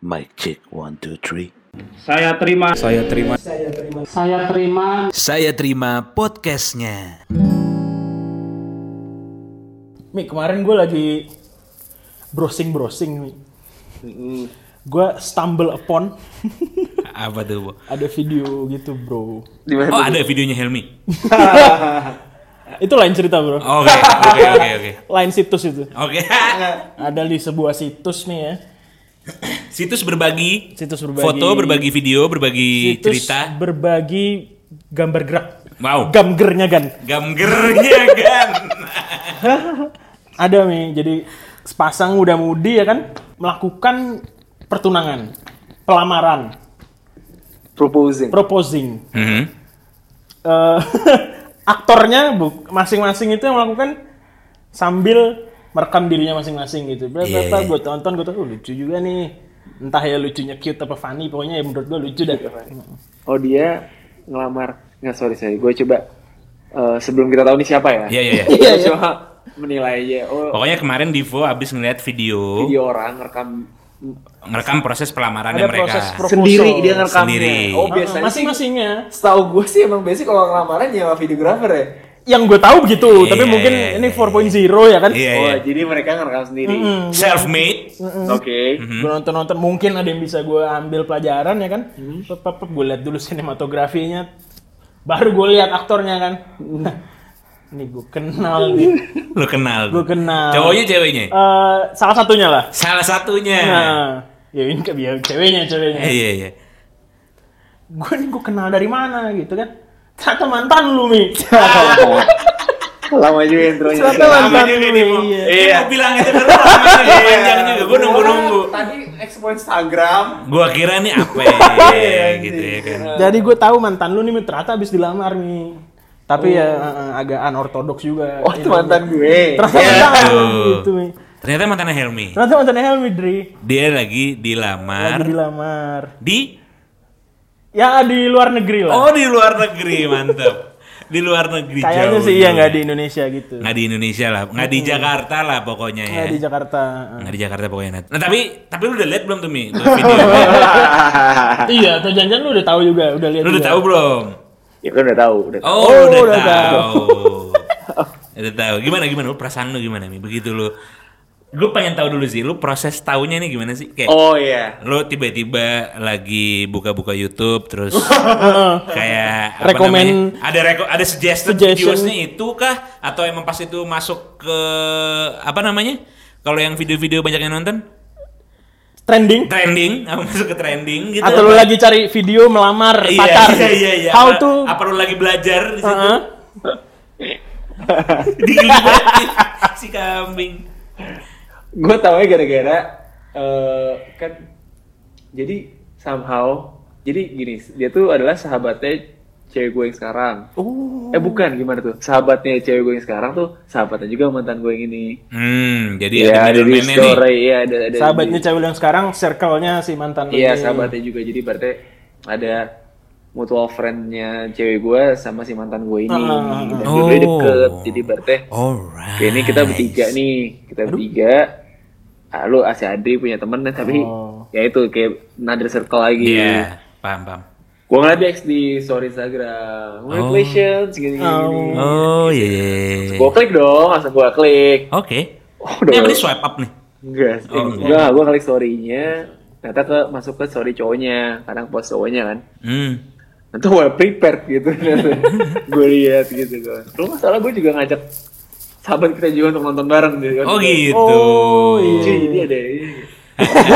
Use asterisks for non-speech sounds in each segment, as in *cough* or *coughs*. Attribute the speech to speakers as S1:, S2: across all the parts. S1: Mic check one two three.
S2: Saya terima.
S3: Saya terima.
S2: Saya terima.
S1: Saya terima podcastnya.
S4: Mi, kemarin gue lagi browsing-browsing, Mi. Gue stumble upon
S3: Apa tuh, Bo?
S4: ada video gitu, bro.
S3: Oh, ada videonya Helmi.
S4: Itu lain cerita, bro.
S3: Oke, oke, oke, oke.
S4: Lain situs itu.
S3: Oke. *laughs*
S4: Ada di sebuah situs nih ya.
S3: Situs berbagi,
S4: Situs berbagi.
S3: foto, berbagi video, berbagi
S4: situs
S3: cerita.
S4: berbagi gambar gerak.
S3: Wow.
S4: Gamgernya, Gan.
S3: *laughs* Gamgernya kan.
S4: Ada, Mi. Jadi sepasang muda-mudi ya kan melakukan pertunangan, pelamaran,
S5: proposing.
S4: proposing.
S3: Mhm.
S4: eh *laughs* aktornya bu- masing-masing itu yang melakukan sambil merekam dirinya masing-masing gitu. Berapa
S3: Iya, iya.
S4: gue tonton gue tuh "Oh, lucu juga nih. Entah ya lucunya cute apa funny, pokoknya ya menurut gue lucu dah.
S5: Oh dia ngelamar. Nggak sorry saya, gue coba eh, sebelum kita tahu ini siapa ya.
S3: Iya,
S5: *laughs*
S3: iya, iya.
S5: Kita coba menilai aja. Oh
S3: Pokoknya kemarin Divo abis ngeliat video,
S5: video orang rekam
S3: ngerekam proses pelamarannya mereka.
S4: proposal.
S5: sendiri dia ngerekamnya.
S3: Sendiri.
S5: Oh
S4: Ah,
S5: biasanya sih,
S4: masing-masingnya.
S5: setahu gue sih emang basic kalau ngelamaran nyewa videografer ya.
S4: Yang gue tahu begitu,
S3: Iya,
S4: tapi
S3: iya,
S4: mungkin
S3: iya,
S4: ini
S3: iya.
S4: 4.0 ya kan.
S3: Iya,
S5: Oh
S3: iya.
S5: jadi mereka ngerekam sendiri.
S3: Self made.
S5: Oke.
S4: Gue Mm-hmm. nonton-nonton mungkin ada yang bisa gue ambil pelajaran ya kan.
S3: Mm-hmm.
S4: Gue lihat dulu sinematografinya, baru gue lihat aktornya kan.
S3: Mm-hmm.
S4: *laughs* Ini gue kenal nih.
S3: Lu kenal.
S4: Gua kenal.
S3: Cowoknya ceweknya?
S4: Eh, salah satunya lah.
S3: Salah satunya.
S4: Nah, ya ini ke ya, ceweknya, ceweknya.
S3: Iya, iya, iya.
S4: Gue nih gue kenal dari mana gitu kan? Ternyata mantan lu
S3: *laughs*
S4: mi.
S3: Iya,
S5: *laughs* Lama juga intronya.
S4: Silakan. Mantan
S3: Namanya
S4: lu,
S3: ini, Mo.
S4: iya.
S3: Iya. Mau bilang itu terus namanya juga panjang juga. Gue nunggu-nunggu.
S5: Tadi explore Instagram.
S3: Gua kira nih apa
S4: *laughs* Iya,
S3: ya, gitu ya kan.
S4: Jadi gue tahu mantan lu nih Mi, ternyata habis dilamar mi. Tapi ya
S3: Oh.
S4: eh, eh, agak anortodoks juga.
S5: Oh itu mantan
S4: iya,
S5: gue.
S4: Ternyata
S3: Iya,
S4: mantan lu,
S3: tuh.
S4: gitu mi.
S3: Ternyata mantannya Helmi.
S4: Ternyata mantan Helmi Dri
S3: Dia lagi
S4: lagi
S3: dilamar
S4: dilamar.
S3: di
S4: Ya di luar negeri lah.
S3: oh di luar negeri mantep. Di luar negeri
S4: Kayaknya
S3: jauh
S4: sih iya
S3: juga. Nah,
S4: nggak di Indonesia gitu.
S3: Nggak di Indonesia lah, nggak di Jakarta lah pokoknya ya.
S4: Nggak di Jakarta. eh.
S3: Nggak di Jakarta pokoknya. Nat. Nah tapi tapi lu udah lihat belum tuh mi?
S4: *laughs*
S3: Tuh videonya.
S4: iya, atau jangan-jangan lu udah tahu juga, udah lihat.
S3: lu udah
S4: juga.
S3: tahu belum?
S5: *laughs* Ya kan udah tahu. Udah.
S3: Oh,
S4: Oh,
S3: udah,
S4: udah
S3: tahu. *laughs* udah tahu. Gimana gimana lu perasaan lu gimana mi? Begitu lu Gue pengen tahu dulu sih, lu proses tahunya nih gimana sih? Kayak
S5: Oh iya.
S3: lo tiba-tiba lagi buka-buka YouTube terus
S4: *laughs*
S3: kayak
S4: Rekomen-
S3: namanya? ada reko ada suggested
S4: Suggestion.
S3: videosnya itu kah atau emang pas itu masuk ke apa namanya kalau yang video-video banyak yang nonton
S4: *laughs* Trending.
S3: trending *laughs* apa masuk ke trending gitu
S4: Atau lu lagi cari video melamar
S3: Iya,
S4: pacar.
S3: iya iya iya
S4: How
S3: apa,
S4: to Uh-huh.
S3: apa lu lagi belajar di situ *laughs*
S4: Heeh.
S3: Digelibatin si kambing
S5: gue tau gara-gara eh, kan jadi somehow jadi gini dia tuh adalah sahabatnya cewek gue yang sekarang
S4: Oh.
S5: eh bukan gimana tuh sahabatnya cewek gue yang sekarang tuh sahabatnya juga mantan gue yang ini
S3: hmm jadi
S5: Iya,
S4: Ya,
S3: ada
S5: ada di
S3: middleman-nya nih
S5: story iya ada ada
S4: Sahabatnya
S5: di-
S4: cewek yang sekarang circle-nya si mantan lu
S5: iya
S4: ini.
S5: sahabatnya juga jadi berarti ada mutual friendnya cewek gue sama si mantan gue ini
S4: Ah, ah,
S3: ah.
S5: dan dua-duanya deket
S3: Oh.
S5: jadi berarti
S3: alright
S5: Oke, ini kita bertiga nih, kita bertiga. Ah, lu si Adri punya temen tapi
S4: Oh.
S5: ya itu kayak another circle lagi.
S3: iya paham paham
S5: Gua ngeliat di X di story Instagram. Congratulations gini gini. gini.
S3: oh iya iya
S5: Gua klik dong, langsung gua klik.
S3: Oke.
S5: Oh,
S3: Ini
S5: udah.
S3: apa nih swipe up nih?
S5: Enggak, sih.
S3: Oh,
S5: enggak, gua klik story-nya. Ternyata ke masuk ke story cowoknya, kadang post cowoknya kan.
S3: Hmm.
S5: Nanti well prepared gitu. *laughs* gue lihat gitu gua. Lu masalah gue juga ngajak sahabat kita juga untuk nonton bareng gitu.
S3: Oh gitu.
S4: Oh, iya.
S5: Cuy, ini ada ini. *laughs*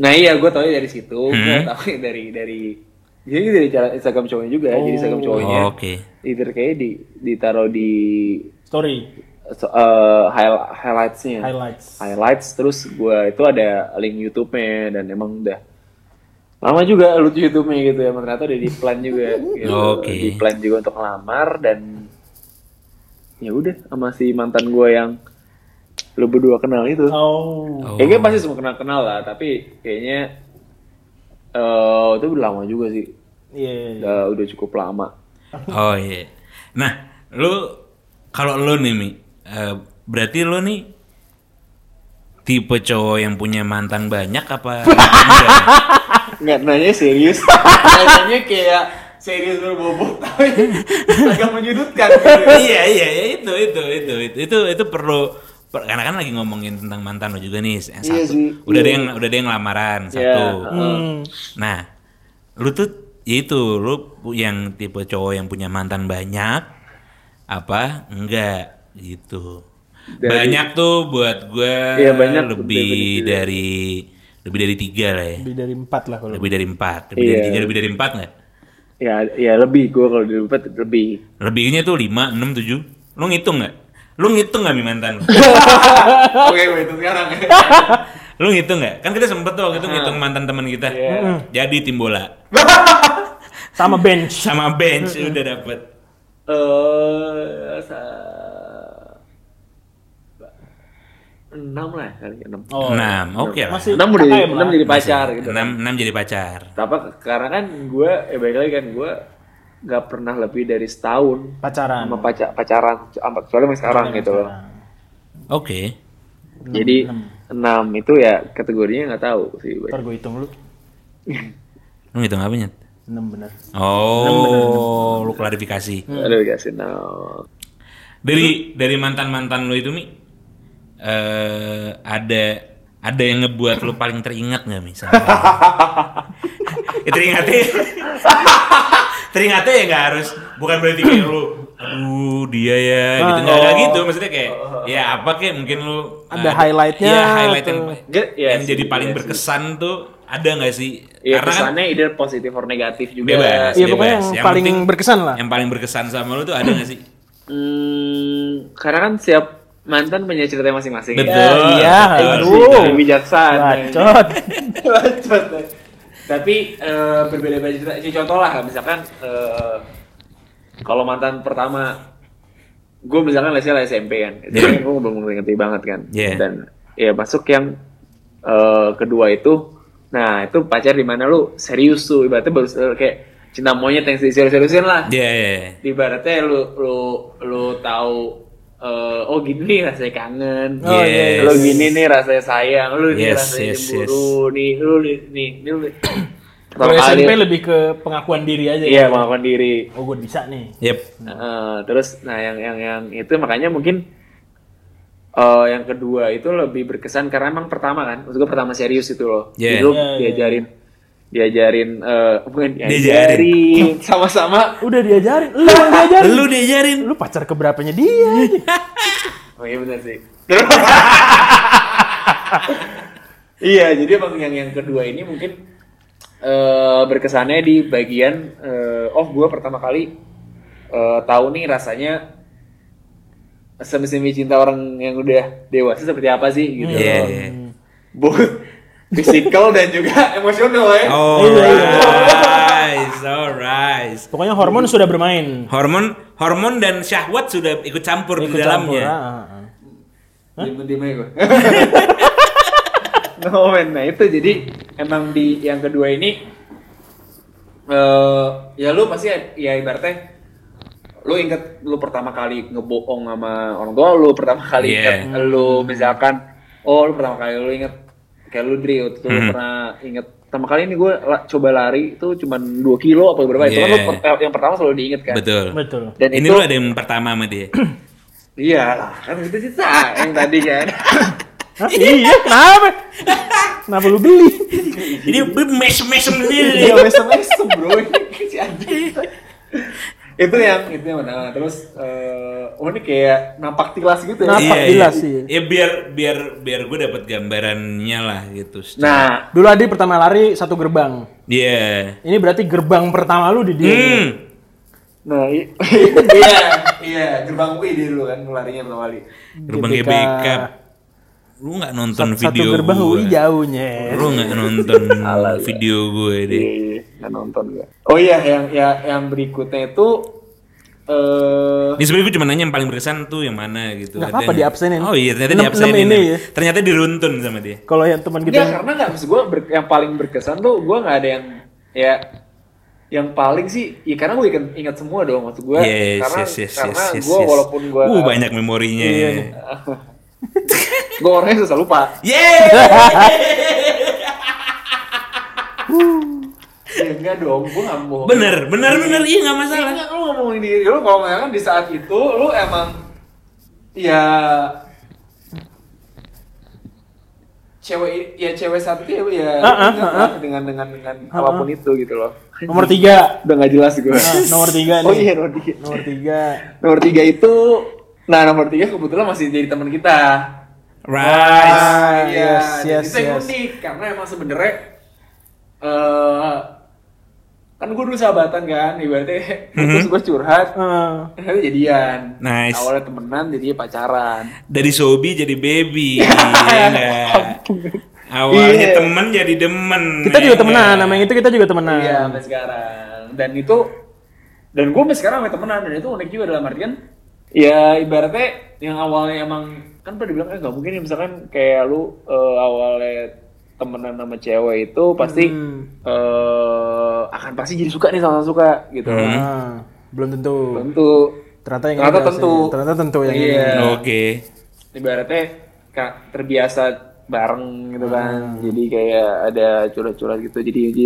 S5: nah iya gue tau dari situ gue
S3: Hmm?
S5: tau dari dari jadi dari cara Instagram cowoknya juga jadi Instagram cowoknya
S3: Oh, Oke.
S5: either kayak di ditaruh di
S4: Story
S5: so, eh, high- highlightsnya
S4: highlights.
S5: highlights terus gue itu ada link YouTube-nya dan emang udah lama juga lu di YouTube-nya gitu ya ternyata udah di plan
S3: *laughs*
S5: juga gitu.
S3: Oke.
S5: di plan juga untuk ngelamar dan ya udah sama si mantan gue yang lu berdua kenal itu
S4: Oh.
S3: Oh.
S5: Kayaknya Ya, pasti semua kenal-kenal lah, tapi kayaknya eh itu udah lama juga sih.
S4: Iya.
S5: Udah, udah cukup lama.
S3: Oh iya. Nah, lu kalau lu nih Mi, eh, berarti lu nih tipe cowok yang punya mantan banyak
S5: *laughs*
S3: apa enggak?
S5: Nggak nanya *laughs* serius. Nanyanya kayak ya, serius berbobot tapi agak menyudutkan gitu.
S3: iya iya iya, itu itu itu itu itu itu perlu per- karena kan lagi ngomongin tentang mantan lo juga nih yang
S5: Iya
S3: satu
S5: sih,
S3: udah
S5: iya.
S3: ada yang udah ada yang lamaran satu
S5: eh.
S4: Hmm,
S3: nah lu tuh ya itu lu pu- yang tipe cowok yang punya mantan banyak apa enggak gitu
S5: Dari-
S3: banyak tuh buat gue
S5: Iya, banyak
S3: lebih
S5: definitely.
S3: dari lebih dari tiga lah ya
S4: Lebih dari empat lah kalau.
S3: lebih dari empat lebih dari
S5: Iya.
S3: tiga lebih dari empat nggak
S5: Ya, ya lebih gue kalau di tempat lebih.
S3: Lebihnya tuh 5, 6, 7 Lu ngitung nggak? Lu ngitung nggak Mi
S5: *laughs*
S3: mantan lu?
S5: Oke, gue itu sekarang.
S3: *laughs* Lu ngitung nggak? Kan kita sempet tuh
S5: Nah.
S3: waktu itu ngitung mantan teman kita
S5: Iya.
S3: Jadi tim bola
S4: Sama bench.
S3: Sama bench udah dapet
S5: Eh, sa- enam lah kali ya, enam.
S4: Oh.
S3: 6, oke lah
S4: Masih kan?
S5: enam udah jadi,
S4: KKM lah.
S5: enam jadi pacar gitu.
S3: 6, 6 jadi pacar
S5: Tapi karena kan gue, ya baik lagi kan gue nggak pernah lebih dari setahun
S4: pacaran.
S5: sama pacar pacaran, sama kecuali sama sekarang gitu loh.
S3: Oke
S5: Jadi enam itu ya kategorinya nggak tahu sih. Bay.
S4: Ntar gue hitung lu.
S3: Lu ngitung apa Nyet?
S4: 6 bener.
S3: Oh, lu klarifikasi
S5: Aduh dikasih enam.
S3: Dari dari mantan-mantan lu itu Mi eh ada ada yang ngebuat lu paling teringat nggak Mi? sama-
S4: *laughs*
S3: ya, *laughs* teringatnya teringatnya ya nggak harus bukan berarti kayak lu aduh dia ya
S4: Ah,
S3: gitu nggak nggak gitu maksudnya kayak ya apa kayak mungkin lu
S4: oh. Ada
S3: eh,
S4: highlight-nya
S3: ya, highlight yang,
S4: atau-
S5: Nggak, ya
S3: yang
S5: sih,
S3: jadi
S5: iya
S3: paling
S5: sih.
S3: berkesan tuh ada nggak sih?
S5: Iya
S3: Karena kan
S5: kesannya either positif or negatif juga.
S3: bebas,
S4: Iya, pokoknya
S3: bebas.
S4: yang paling
S3: penting-
S4: berkesan lah. Iya,
S3: Yang paling berkesan sama lu tuh ada nggak sih?
S5: Hmm, karena kan siap mantan punya ceritanya masing-masing.
S3: Betul.
S5: Ya,
S4: iya,
S3: betul.
S4: aduh.
S5: Lebih bijaksana.
S4: Bacot.
S5: *laughs* Bacot. Tapi eh, berbeda-beda cerita. Ini Contoh lah, misalkan eh, kalau mantan pertama, gue misalkan lesnya lah SMP kan, SMP gue belum ngerti banget kan,
S3: Iya.
S5: dan ya masuk yang eh, kedua itu, nah itu pacar di mana lu serius tuh, ibaratnya baru eh, kayak cinta monyet yang serius-seriusin lah
S3: Iya, iya, iya.
S5: ibaratnya lu lu lu tahu eh, oh gini nih rasanya kangen
S4: Oh,
S3: Yes.
S5: lu gini nih rasanya sayang lu nih
S3: iya, Yes,
S5: rasanya
S3: yes,
S5: cemburu nih lu nih nih, nih
S3: *coughs*
S5: lu
S4: Kalau SMP lebih ke pengakuan diri aja ya.
S5: iya melakukan diri
S4: Oh, gue bisa nih.
S3: Yep.
S5: Eh, terus nah yang yang yang itu makanya mungkin eh, yang kedua itu lebih berkesan karena emang pertama kan maksud gue pertama serius itu loh
S3: Yeah.
S5: Jadi lu
S4: Yeah, yeah,
S5: diajarin diajarin eh bukan
S3: Diajarin.
S5: diajarin *laughs* sama-sama
S4: Udah diajarin, lu yang diajarin.
S3: Lu diajarin.
S4: lu pacar keberapanya dia aja.
S3: *laughs*
S5: Oh iya benar sih. *laughs* iya, jadi emang yang yang kedua ini mungkin eh, berkesannya di bagian eh, oh gue pertama kali eh, tahu nih rasanya semi-semi cinta orang yang udah dewasa seperti apa sih gitu.
S3: Iya,
S5: loh.
S3: iya.
S5: *laughs* Both physical dan juga emosional ya.
S3: Oh, iya. Alright, alright.
S4: Iya, Pokoknya hormon sudah bermain.
S3: Hormon, hormon dan syahwat sudah ikut campur di
S4: Ikut campur, ah,
S3: dalamnya.
S4: ah, ah.
S5: Diem-diem
S3: *laughs*
S5: aja gue. no comment. Nah itu jadi emang di yang kedua ini eh ya lu pasti ya ibaratnya lu inget lu pertama kali ngebohong sama orang tua lu pertama kali
S3: Yeah. Hmm.
S5: inget lu misalkan oh lu pertama kali lu inget kayak lu Dri waktu itu lu
S3: Hmm.
S5: pernah inget pertama kali ini gue la- coba lari itu cuman 2 kilo apa berapa itu kan lu
S3: Yeah.
S5: per- yang pertama selalu diinget kan
S3: Betul.
S4: Betul.
S5: dan
S3: Ini
S5: itu
S3: lu ada yang pertama sama
S4: *coughs*
S3: dia.
S5: iya lah kan itu sisa yang tadi
S3: *laughs*
S5: kan
S4: Hah, iya, kenapa? kenapa lu beli?
S3: Jadi mes-mes
S4: *laughs*
S5: Iya,
S3: sendiri.
S5: mesem mesem bro *laughs* Ini si anjing. itu yang itu yang pertama terus eh oh ini kayak napak tilas gitu ya
S4: Napak.
S3: Iya,
S4: gila
S3: iya.
S4: sih.
S3: Ya biar biar biar gue dapat gambarannya lah gitu.
S5: nah
S4: Dulu Adi pertama lari satu gerbang.
S3: Iya.
S4: Ini berarti gerbang pertama lu di dia.
S3: Hmm.
S5: nah i- *laughs* iya iya gerbang UI dia dulu kan larinya pertama kali
S3: Gerbang
S4: GBK.
S3: GBK. Lu nggak nonton
S4: Satu
S3: Hmm,
S4: iya.
S3: video
S4: gerbang
S3: gue.
S4: UI jauhnya.
S3: Lu nggak
S4: *laughs*
S3: nonton video gue deh.
S5: iya iya nggak nonton gua oh iya yang ya yang berikutnya itu eh
S3: Ini sebenarnya gue cuma nanya yang paling berkesan tuh yang mana gitu.
S4: Nggak
S3: Ada
S4: apa-apa,
S3: nggak?
S4: diabsenin.
S3: Oh iya ternyata
S4: Enam-
S3: diabsenin.
S4: enam ini
S3: ya.
S4: ya.
S3: Ternyata diruntun sama dia.
S4: Kalau yang teman
S3: Gitu.
S5: Enggak,
S4: kita
S5: ya, karena nggak maksud gue yang paling berkesan tuh gue nggak ada yang ya yang paling sih ya karena gue ingat, ingat semua dong maksud gue
S3: Yes,
S5: karena
S3: yes, Uh, yes,
S5: karena
S3: yes, yes,
S5: gue
S3: yes.
S5: walaupun gue
S3: uh banyak memorinya.
S4: Iya,
S3: ya.
S4: nih.
S5: Gue orangnya susah lupa.
S3: Yeay!
S5: *laughs* Ya, enggak dong, gue nggak mau.
S3: Bener, bener, bener. Iya nggak masalah.
S5: Enggak, lu ngomongin diri lu kalau misalkan di saat itu lu emang ya cewek ya cewek satu ya ya
S4: Ah, ah, ah,
S5: ingat lah dengan dengan dengan apapun itu gitu loh.
S4: Nomor tiga.
S5: Udah nggak jelas gue.
S4: Nah, nomor tiga nih.
S5: *laughs* Oh iya nomor tiga.
S4: Nomor tiga.
S5: Nomor tiga itu, nah nomor tiga kebetulan masih jadi teman kita.
S3: Right.
S4: Ah,
S3: iya.
S4: yes,
S5: jadi
S4: yes,
S5: itu yang
S4: yes.
S5: Iya, unik karena emang sebenernya eh kan gue dulu sahabatan kan, ibaratnya terus gue curhat,
S4: Eh,
S5: ternyata jadian.
S3: Nice.
S5: Awalnya temenan, jadinya pacaran.
S3: Dari sobi jadi
S4: *laughs*
S3: baby. Iya nggak? Awalnya
S5: Iya.
S3: temen jadi demen.
S4: kita
S3: ya
S4: juga temenan,
S3: nggak?
S4: sama yang itu kita juga temenan.
S5: Iya, sampai sekarang. Dan itu dan gue sampai sekarang sampai temenan dan itu unik juga dalam artian ya ibaratnya yang awalnya emang kan pernah dibilang eh nggak mungkin ya misalkan kayak lu eh, awalnya temenan sama cewek itu pasti
S4: Hmm.
S5: eh, akan pasti jadi suka nih sama suka gitu.
S3: Hmm.
S4: Ah, belum tentu.
S5: Tentu
S4: Ternyata yang
S5: Ternyata
S4: ini
S5: tentu.
S4: hasilnya. Ternyata tentu yang ini.
S5: Iya.
S3: Oh, Oke.
S5: ibaratnya kak terbiasa bareng gitu kan.
S4: Hmm.
S5: Jadi kayak ada curhat-curhat gitu. Jadi jadi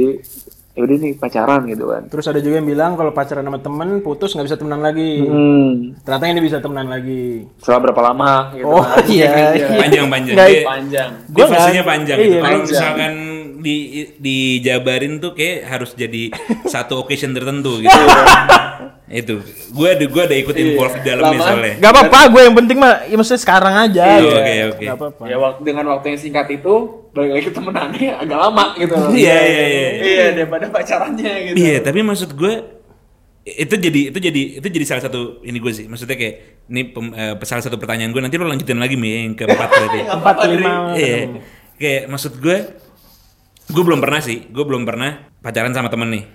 S5: ya udah nih pacaran gitu kan.
S4: Terus ada juga yang bilang kalau pacaran sama temen putus nggak bisa temenan lagi.
S5: Hmm.
S4: Ternyata ini bisa temenan lagi.
S5: Setelah berapa lama gitu
S4: Oh,
S5: kan.
S4: iya, iya.
S3: Panjang-panjang.
S4: Nggak,
S3: Dia,
S5: *laughs* Panjang.
S3: dia
S4: Gua
S3: fasenya
S4: nggak-
S3: panjang.
S4: iya,
S3: gitu. Kalau
S5: panjang.
S3: misalkan di dijabarin tuh kayak harus
S4: *laughs*
S3: jadi satu occasion tertentu
S4: Iya.
S3: gitu. itu gue ada gue ada ikut involved di dalamnya
S5: Lama.
S3: soalnya
S4: Gak apa-apa, gue yang penting mah, ya maksudnya sekarang aja.
S3: Iya,
S4: gitu.
S3: oke, oke.
S4: Nggak apa-apa.
S5: Ya waktu dengan waktu yang singkat itu balik lagi temenannya agak lama gitu.
S3: *laughs* Iya, iya, iya.
S5: Iya daripada pacarannya gitu.
S3: Iya, tapi maksud gue itu jadi itu jadi itu jadi salah satu ini gue sih. Maksudnya kayak ini pem- eh, salah satu pertanyaan gue nanti lo lanjutin lagi Mi, yang keempat
S5: *laughs*
S3: berarti.
S4: Empat lima.
S3: Iya. Kayak maksud gue gue belum pernah sih, gue belum pernah pacaran sama temen nih.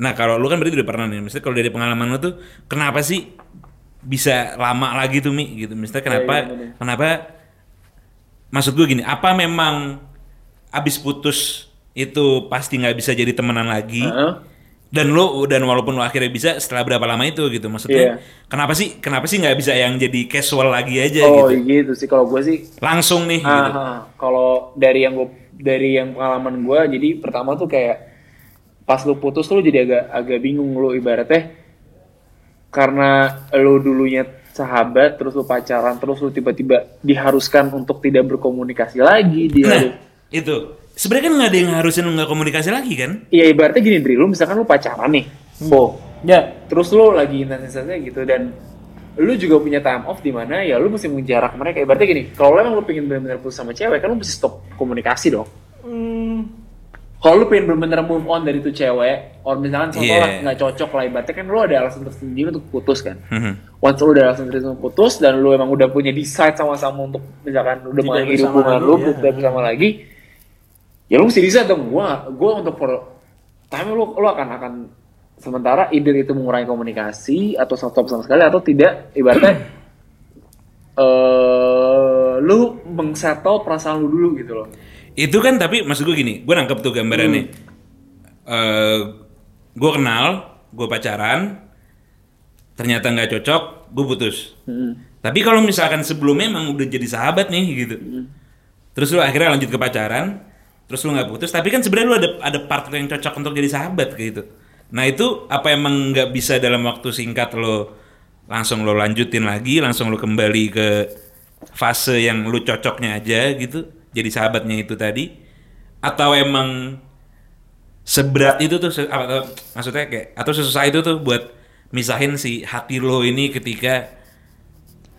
S3: Nah, kalau lu kan berarti udah pernah nih. Maksudnya kalau dari pengalaman lu tuh kenapa sih bisa lama lagi tuh Mi gitu. Maksudnya kenapa
S5: iya, bener.
S3: kenapa maksud gue gini, apa memang abis putus itu pasti nggak bisa jadi temenan lagi?
S5: Heeh.
S3: dan lo dan walaupun lo akhirnya bisa setelah berapa lama itu gitu maksudnya
S5: Iya.
S3: kenapa sih kenapa sih nggak bisa yang jadi casual lagi aja
S5: Oh Ah,
S3: gitu
S5: gitu sih kalau gue sih.
S3: langsung nih gitu
S5: Aha, kalau dari yang gue dari yang pengalaman gue jadi pertama tuh kayak pas lu putus tuh lu jadi agak agak bingung lu ibaratnya karena lu dulunya sahabat terus lu pacaran terus lu tiba-tiba diharuskan untuk tidak berkomunikasi lagi
S3: nah
S5: dia
S3: itu sebenarnya kan nggak ada yang harusin lo nggak komunikasi lagi kan
S5: Iya ibaratnya gini Dri, lu misalkan lu pacaran nih, Bo.
S4: Ya,
S5: Terus lu lagi intensitasnya gitu dan lu juga punya time off di mana ya lu mesti menjarak mereka. Ibaratnya gini, kalau lu emang lu pengen benar-benar putus sama cewek kan lu mesti stop komunikasi dong. Kalau lu pengen benar-benar move on dari tuh cewek, or misalkan contoh
S3: Iya.
S5: lah nggak cocok lah ibaratnya kan lu ada alasan tersendiri untuk putus kan.
S3: Mhm.
S5: Once lu udah alasan tersendiri untuk putus dan lu emang udah punya decide sama-sama untuk misalkan udah
S4: Tidak
S5: mengakhiri
S4: bersama
S5: hubungan
S4: lagi,
S5: lu,
S4: iya.
S5: tidak bersama lagi, ya lu mesti bisa dong gua gua untuk for time lu lu akan akan sementara either itu mengurangi komunikasi atau stop sama sekali atau tidak ibaratnya *clears throat* eh lu mengsettle perasaan lu dulu gitu loh
S3: itu kan tapi maksud gue gini gue nangkep tuh gambarannya
S5: Hmm.
S3: Eh, gue kenal gue pacaran ternyata nggak cocok gue putus
S5: Hmm.
S3: tapi kalau misalkan sebelumnya emang udah jadi sahabat nih gitu
S5: Hmm.
S3: terus lu akhirnya lanjut ke pacaran terus lu nggak putus tapi kan sebenarnya lu ada ada part lu yang cocok untuk jadi sahabat kayak gitu nah itu apa emang nggak bisa dalam waktu singkat lo langsung lo lanjutin lagi langsung lo kembali ke fase yang lu cocoknya aja gitu jadi sahabatnya itu tadi atau emang seberat itu tuh se- apa, atau- maksudnya kayak atau sesusah itu tuh buat misahin si hati lo ini ketika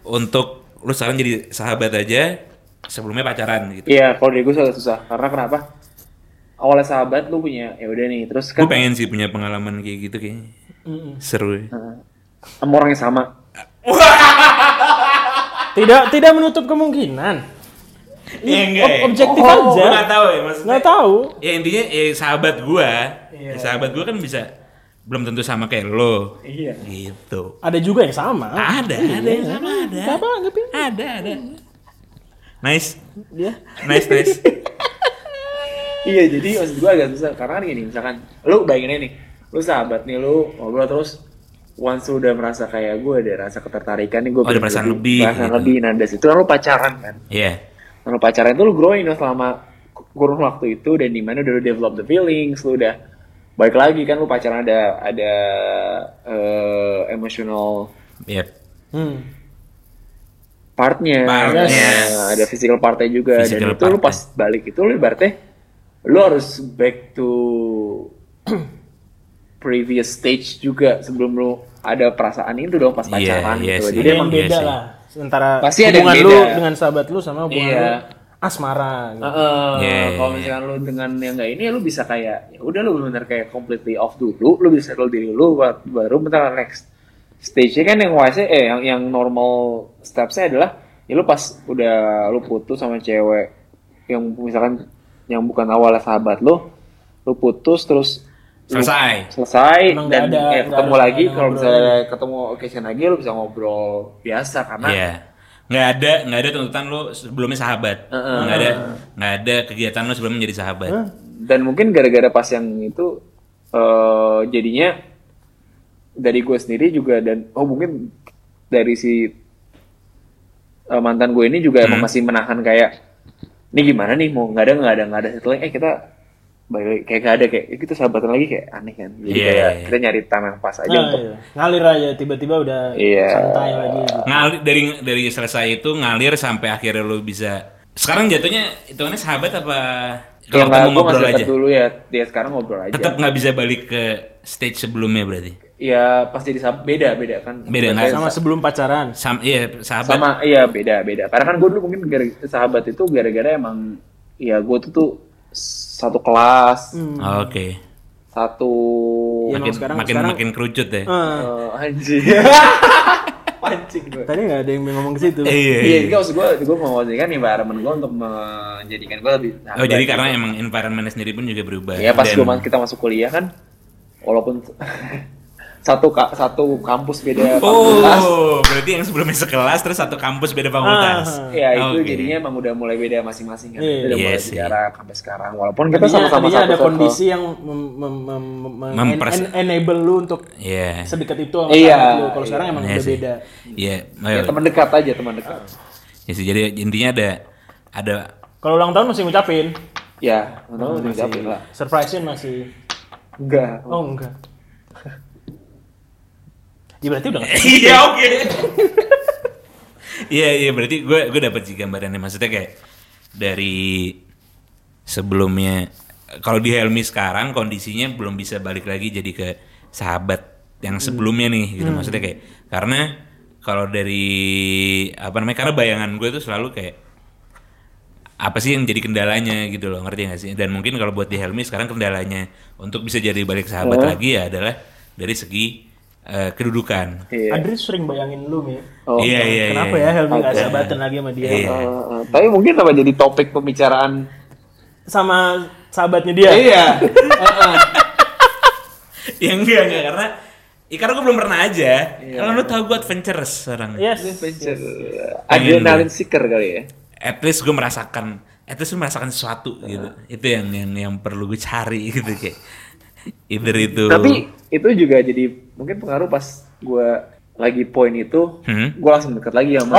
S3: untuk lu sekarang jadi sahabat aja sebelumnya pacaran gitu.
S5: iya kalau dari gue agak susah karena kenapa awalnya sahabat lu punya ya udah nih terus
S3: Gue
S5: kan
S3: pengen sih punya pengalaman kayak gitu kayaknya. Seru ya.
S5: sama orang yang sama
S4: tidak tidak menutup kemungkinan.
S3: Iya enggak.
S4: Ob-
S3: ya?
S4: objektif aja.
S3: Gua nggak tahu ya maksudnya.
S4: Nggak tahu. Iya.
S3: Ya intinya ya sahabat gua, ya sahabat gua kan bisa belum tentu sama kayak lo. Iya. Gitu.
S4: Ada juga yang sama.
S3: Ada, ada yang sama ada.
S4: Nggak apa, nggak apa.
S3: Ada, ada. Nice.
S4: Iya.
S3: Nice, nice.
S4: *laughs*
S5: Iya jadi maksud gue agak susah karena kan gini misalkan lu bayangin aja nih lu sahabat nih lu ngobrol terus once lu udah merasa kayak gue ada rasa ketertarikan nih gue
S3: Oh, ada perasaan lebih,
S5: perasaan
S3: gitu.
S5: lebih nah dari situ lu pacaran kan
S3: Iya.
S5: nah, lu pacaran tuh lu growing dong selama kurun waktu itu dan dimana udah lu develop the feelings lu udah baik lagi kan lu pacaran ada ada eh, emotional
S3: Iya.
S4: Hmm.
S5: partnya,
S3: Partnya.
S5: Nah, ada physical partnya juga
S3: Physical
S5: dan itu lu
S3: partnya.
S5: pas balik itu lu ibaratnya lu harus back to previous stage juga sebelum lu ada perasaan itu dong pas
S3: Iya,
S5: pacaran
S3: iya
S5: gitu.
S3: sih.
S5: Jadi
S4: Ada yang
S5: emang
S3: Iya
S4: beda
S3: sih.
S4: lah antara
S5: Pasti ada yang
S4: hubungan
S5: beda.
S4: lu dengan sahabat lu sama hubungan
S5: Iya.
S4: lu asmara gitu. iya.
S5: Heeh,
S3: Yeah,
S5: kalau
S3: yeah,
S5: misalnya lu dengan yang nggak ini ya lu bisa kayak ya udah lu bener kayak completely off dulu, lu bisa settle diri lu ba- baru bentar next stage-nya kan yang wise eh yang yang normal steps-nya adalah ya lu pas udah lu putus sama cewek yang misalkan yang bukan awalnya sahabat lu, lu putus terus lu
S3: Selesai.
S5: selesai
S4: Emang nggak ada-
S5: dan eh,
S4: nggak
S5: ketemu
S4: ada-
S5: lagi
S4: nggak ada
S5: kalau
S4: ngobrol
S5: misalnya ketemu occasion lagi lu bisa ngobrol biasa
S4: Nah.
S5: karena
S3: Iya. Nggak ada, nggak ada tuntutan lo sebelumnya sahabat. Nggak ada, nggak ada kegiatan lo sebelum menjadi sahabat.
S5: dan mungkin gara-gara pas yang itu eh, jadinya dari gue sendiri juga dan oh mungkin dari si eh, mantan gue ini juga
S3: Hmm.
S5: emang masih menahan kayak ini gimana nih mau nggak ada nggak ada nggak ada setelah eh kita balik lagi." kayak nggak ada kayak "Eh, kita sahabatan lagi kayak aneh kan jadi
S3: Iya,
S5: kayak
S3: iya.
S5: kita nyari time yang pas aja
S4: Nah,
S5: untuk
S4: iya. Ngalir aja tiba-tiba udah
S5: Iya.
S4: santai lagi. gitu.
S3: Ngalir dari dari selesai itu ngalir sampai akhirnya lo bisa. Sekarang jatuhnya hitungannya sahabat apa?
S5: kalau nggak
S3: ketemu
S5: gue masih deket dulu iya. ya dia sekarang ngobrol aja
S3: Tetap nggak bisa balik ke stage sebelumnya berarti.
S5: ya pasti di beda beda kan
S3: Beda, nah. nggak?
S5: Maksudnya
S4: Sama sebelum pacaran.
S3: Sam, iya sahabat.
S5: sama iya beda beda karena kan gue dulu mungkin gara- sahabat itu gara-gara emang ya gue tuh tuh satu kelas
S3: Oh, Oke.
S5: satu
S4: Hmm. Iya,
S3: Makin
S4: emang sekarang
S3: makin
S4: sekarang
S3: makin kerucut ya.
S4: eh,
S5: Eh,
S4: *laughs*
S5: anjing pancing gue
S4: tadi nggak ada yang ngomong ke situ.
S3: Iya.
S5: iya jadi maksud gue gue mewajibkan environment gue untuk menjadikan gue lebih
S3: Oh jadi
S5: sahabat.
S3: karena emang environment sendiri pun juga berubah.
S5: ya pas
S3: Dan-
S5: gue kita masuk kuliah kan walaupun *laughs* satu ka- satu kampus beda fakultas
S3: Oh, berarti yang sebelumnya sekelas terus satu kampus beda
S4: Ah.
S3: fakultas.
S5: Ya itu
S3: Oke.
S5: jadinya emang udah mulai beda masing-masing kan.
S4: Iya.
S5: Udah
S3: Iya
S5: mulai
S3: sih.
S5: jarak sampai sekarang. Walaupun kita
S4: Tadinya,
S5: sama-sama
S4: tadinya
S5: satu
S4: ada
S5: circle.
S4: kondisi yang mem- mem- mem- mem-
S3: Mempres-
S4: en- enable lu untuk
S3: Iya.
S4: sedekat itu sama
S5: Iya.
S4: sahabat lu. Kalau sekarang emang
S3: Iya
S4: udah
S3: sih.
S4: beda.
S3: Iya.
S5: Ya,
S3: ayo.
S5: teman dekat aja, teman dekat.
S3: Ya sih, jadi intinya ada ada
S4: Kalau ulang tahun masih ngucapin,
S5: Ya,
S3: Oh,
S5: tahu udah jawabin lah.
S4: surprise-in masih.
S5: Enggak.
S4: Oh enggak. Ya berarti udah nggak-
S3: *laughs* Iya, oke. Iya, iya berarti gue gue dapat sih gambarannya maksudnya kayak dari sebelumnya kalau di Helmi sekarang kondisinya belum bisa balik lagi jadi ke sahabat yang sebelumnya nih gitu maksudnya kayak karena kalau dari apa namanya karena bayangan gue tuh selalu kayak apa sih yang jadi kendalanya gitu loh ngerti gak sih dan mungkin kalau buat di Helmi sekarang kendalanya untuk bisa jadi balik sahabat lagi ya adalah dari segi eh, kedudukan
S5: Iya.
S4: Adri sering bayangin lu nih.
S5: Oh.
S3: iya iya
S4: Kenapa
S3: iya.
S4: ya Helmi nggak
S5: Ada.
S4: sahabatan lagi sama dia?
S3: Iya.
S5: Eh, eh, tapi mungkin apa jadi topik pembicaraan?
S4: Sama sahabatnya dia.
S5: Iya.
S3: *laughs* ya enggak enggak karena ya, karena gue belum pernah aja
S4: Iya.
S3: kalau lu tau gue adventurous sekarang
S5: Iya,
S4: Yes.
S5: Adrenalin seeker kali ya.
S3: at least gue merasakan at least gue merasakan sesuatu gitu
S4: Iya.
S3: itu yang yang yang perlu gue cari *laughs* gitu kayak either itu
S5: Tapi itu juga jadi mungkin pengaruh pas gua lagi poin itu,
S3: Hmm?
S5: gua langsung dekat lagi sama.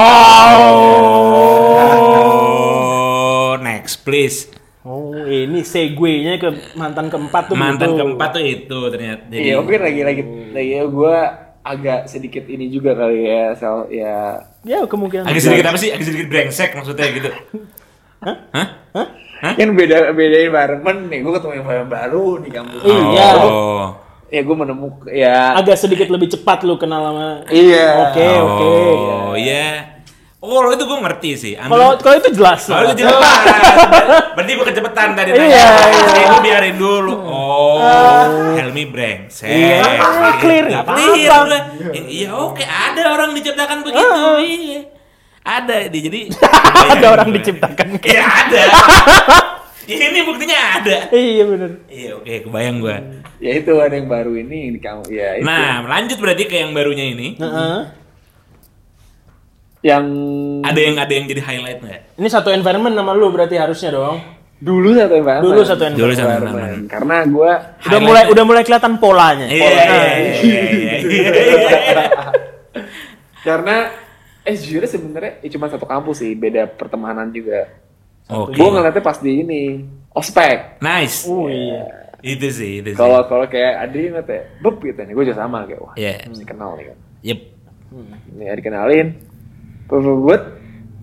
S3: oh next please
S4: Oh, ini segue-nya ke mantan keempat tuh. gitu.
S3: mantan
S4: begitu.
S3: keempat tuh itu ternyata jadi Oh.
S5: Iya, mungkin lagi lagi lagi ya gua agak sedikit ini juga kali ya, soal ya
S4: Ya, kemungkinan.
S3: agak sedikit apa sih agak sedikit brengsek maksudnya gitu
S4: Hah?
S3: Hah?
S5: kan beda beda environment nih gue ketemu environment baru di kampus
S4: Iya.
S3: oh.
S5: ya gue menemukan ya
S4: Agak sedikit lebih cepat lu kenal sama.
S5: iya
S4: Oke, oke.
S3: oh iya oh kalau itu gue ngerti sih Ambil-
S4: Kalau kalau itu jelas.
S3: Kalau
S4: lah.
S3: itu jelas. Berarti gue kecepetan tadi tanya.
S4: Iya, Ah.
S3: Jadi gue biarin dulu. Oh, Helmi brengsek.
S4: Iya, ah, clear, nggak apa-apa.
S3: Clear gue. Ya, Iya, oke, ada orang diciptakan begitu. Iya. Ada di jadi
S4: Ah, *laughs* Ada orang
S3: Bayangin gue.
S4: diciptakan.
S3: Iya, ada. Ya, Ini buktinya ada.
S4: Iya bener.
S3: Iya, oke, kebayang gue.
S5: ya itu ada yang baru ini yang di kampus ya itu
S3: Nah, lanjut berarti ke yang barunya ini.
S4: Heeh.
S5: yang
S3: Ada yang ada yang jadi highlight nggak?
S4: Ini satu environment sama lu berarti harusnya dong.
S5: dulu satu environment
S4: Dulu satu environment.
S3: Dulu satu
S5: environment karena gue
S4: Udah mulai udah mulai kelihatan polanya.
S3: Iya, iya, iya, iya, iya,
S5: Karena eh jujur sebenarnya ya cuma satu kampus sih, beda pertemanan juga.
S3: Oke.
S5: Gue ngeliatnya pas di ini ospek.
S3: Nice.
S4: Oh iya.
S3: Itu sih, itu sih.
S5: Kalau kalau kayak Adri ngeliat ya, beb gitu nih, gue juga sama kayak wah,
S3: Iya.
S5: mesti kenal nih kan.
S3: Yep.
S5: Ini ya, dikenalin, bebet,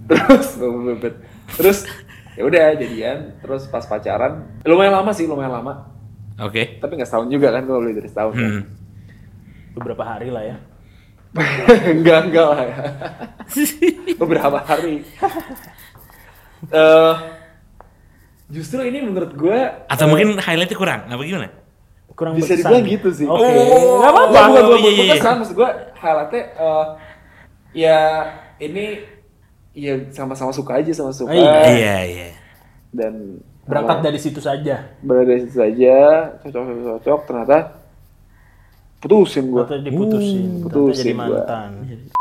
S5: terus *laughs* bebet, terus ya udah jadian, terus pas pacaran lumayan lama sih, lumayan lama,
S3: Oke.
S5: tapi nggak setahun juga kan kalau lebih dari setahun. kan. *laughs*
S3: Hmm.
S4: Beberapa hari
S3: *laughs*
S4: lah ya.
S5: enggak enggak lah ya. beberapa
S4: *laughs*
S5: hari Eh, justru ini menurut gue
S3: Atau mungkin highlightnya kurang, apa gimana?
S4: Kurang
S5: bisa
S4: berkesan. ya.
S5: dibilang gitu sih
S4: Oke.
S3: Oh,
S4: Nggak apa-apa.
S3: iya,
S5: gue
S3: iya, iya.
S5: maksud gue highlightnya eh, ya ini ya sama-sama suka aja sama suka
S4: Iya.
S3: Iya, iya.
S5: dan
S4: Berangkat
S5: sama-
S4: dari situ saja.
S5: berada dari situ saja cocok cocok cocok ternyata putusin gue
S4: Atau diputusin.
S5: Uh,
S4: Atau jadi
S5: putusin gua.
S4: mantan.
S3: Nah,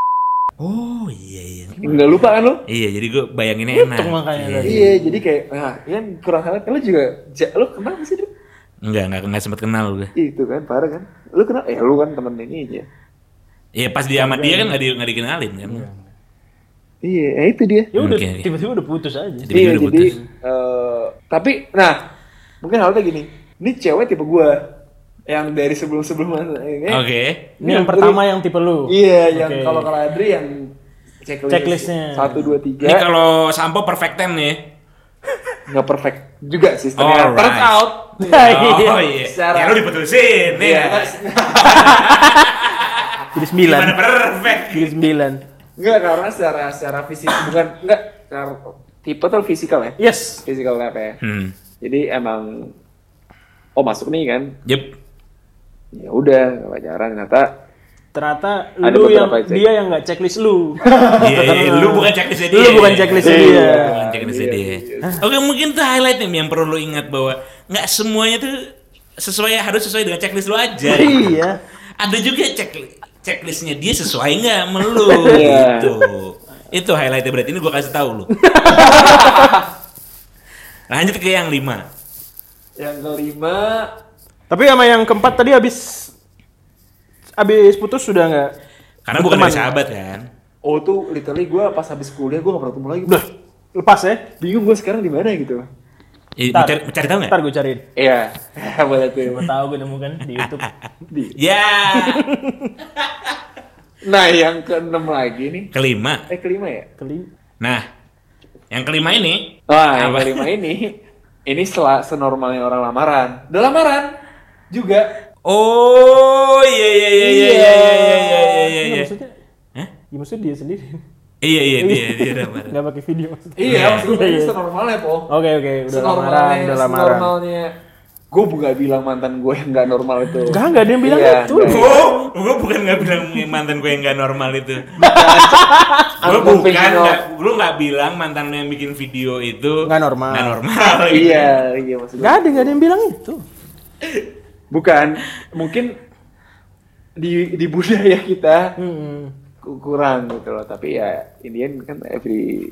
S3: Oh, iya, iya.
S5: nggak lupa kan lo
S3: Iya, jadi gue bayanginnya enak.
S4: Untung makanya
S3: Iya.
S4: tadi.
S5: iya jadi kayak nah ini kan kurang highlight lo juga ja- lo kenapa sih Dri?
S3: Enggak, enggak, enggak sempat kenal gue.
S5: itu kan parah kan lu kenal eh lu kan temen ini aja
S3: Iya, pas dia sama dia kan enggak di, nggak dikenalin kan.
S5: iya eh, itu dia
S4: Ya udah
S3: Oke, iya. oke.
S4: tiba-tiba udah putus aja.
S3: Jadi
S5: iya
S3: udah
S5: jadi
S3: putus.
S5: eh, tapi nah mungkin halnya gini ini cewek tipe gua yang dari sebelum sebelum ini
S3: Oke.
S4: Ini
S3: Iya.
S4: yang pertama yang tipe lu.
S5: iya yang
S4: Oke. *laughs*
S5: kalau kalau Adri yang checklist
S4: Checklistnya.
S5: satu dua
S3: Ini
S5: tiga
S3: kalau sampo perfect time nih.
S5: nggak perfect juga sih ternyata
S3: Alright.
S5: turns out *laughs*
S3: Oh iya.
S5: Secara-
S3: Ya lu diputusin nih.
S5: Iya.
S4: Jadi sembilan.
S3: Gimana perfect?
S4: Jadi sembilan.
S5: nggak karena secara secara fisik bukan nggak secara- tipe tuh fisikal
S3: Iya.
S5: ya
S4: Yes.
S5: fisikal lab ya
S3: Hmm.
S5: jadi emang oh masuk nih kan
S3: Yep.
S5: ya udah nggak pacaran ternyata
S4: Ternyata
S5: Ada
S4: lu yang
S5: beberapa yang cek.
S4: dia yang nggak checklist
S3: *laughs*
S4: lu.
S3: Iya, iya, lu bukan checklist dia.
S4: Lu bukan checklist
S5: Iya.
S4: dia.
S3: Bukan checklist
S5: Iya,
S3: dia.
S5: iya.
S3: Oke, mungkin itu highlight nih yang perlu lu ingat bahwa nggak semuanya tuh sesuai harus sesuai dengan checklist lu aja.
S4: Iya.
S3: Ada juga checklist checklistnya dia sesuai nggak sama lu
S5: Iya.
S3: gitu. Itu highlightnya berarti ini gua kasih tahu lu. Lanjut ke yang lima.
S5: yang kelima
S4: Tapi sama yang keempat tadi habis habis putus sudah nggak?
S3: Karena bukan
S4: Teman.
S3: dari sahabat kan.
S5: oh tuh literally gue pas habis kuliah gue gak pernah ketemu lagi
S4: Udah lepas ya?
S5: bingung gue sekarang di mana gitu
S3: Eh,
S4: Ntar.
S3: Mencari, mencari tahu nggak?
S4: Ntar gue cariin.
S5: iya *laughs* boleh tuh
S4: Gue tahu gue nemukan di
S3: *laughs*
S4: YouTube.
S3: Ya.
S5: nah yang keenam lagi nih
S3: kelima.
S5: eh kelima ya
S4: Kali.
S3: Nah, yang kelima ini
S5: wah yang
S3: Apa?
S5: kelima ini ini setelah senormalnya orang lamaran udah lamaran juga
S3: Oh iya iya iya iya iya iya iya iya iya
S4: Nggak,
S3: iya
S4: Maksudnya?
S3: Hah?
S4: Ya, maksudnya dia sendiri. *laughs*
S3: iya iya dia dia lamaran.
S4: Nggak pakai video maksudnya.
S5: iya Oh, maksud gue
S4: Iya,
S5: ini
S4: iya.
S5: senormalnya po
S4: Oke oke, udah
S5: senormalnya
S3: ya,
S4: lamaran, udah lamaran.
S5: senormalnya gue gak bilang mantan gue yang gak normal itu
S4: Enggak, enggak ada yang bilang
S5: Iya,
S4: itu.
S5: nggak.
S3: Oh, gue bukan nggak bilang mantan gue yang nggak normal itu. gue
S5: I'm
S3: bukan,
S5: thinking of-
S3: nggak- lu nggak bilang mantan lu yang bikin video itu
S4: Nggak normal.
S3: Nggak normal. gitu.
S5: iya iya maksud
S4: Enggak ada, enggak ada yang bilang itu.
S5: Bukan, mungkin di di budaya kita
S4: Hmm.
S5: ku- kurang gitu loh. Tapi ya Indian kan every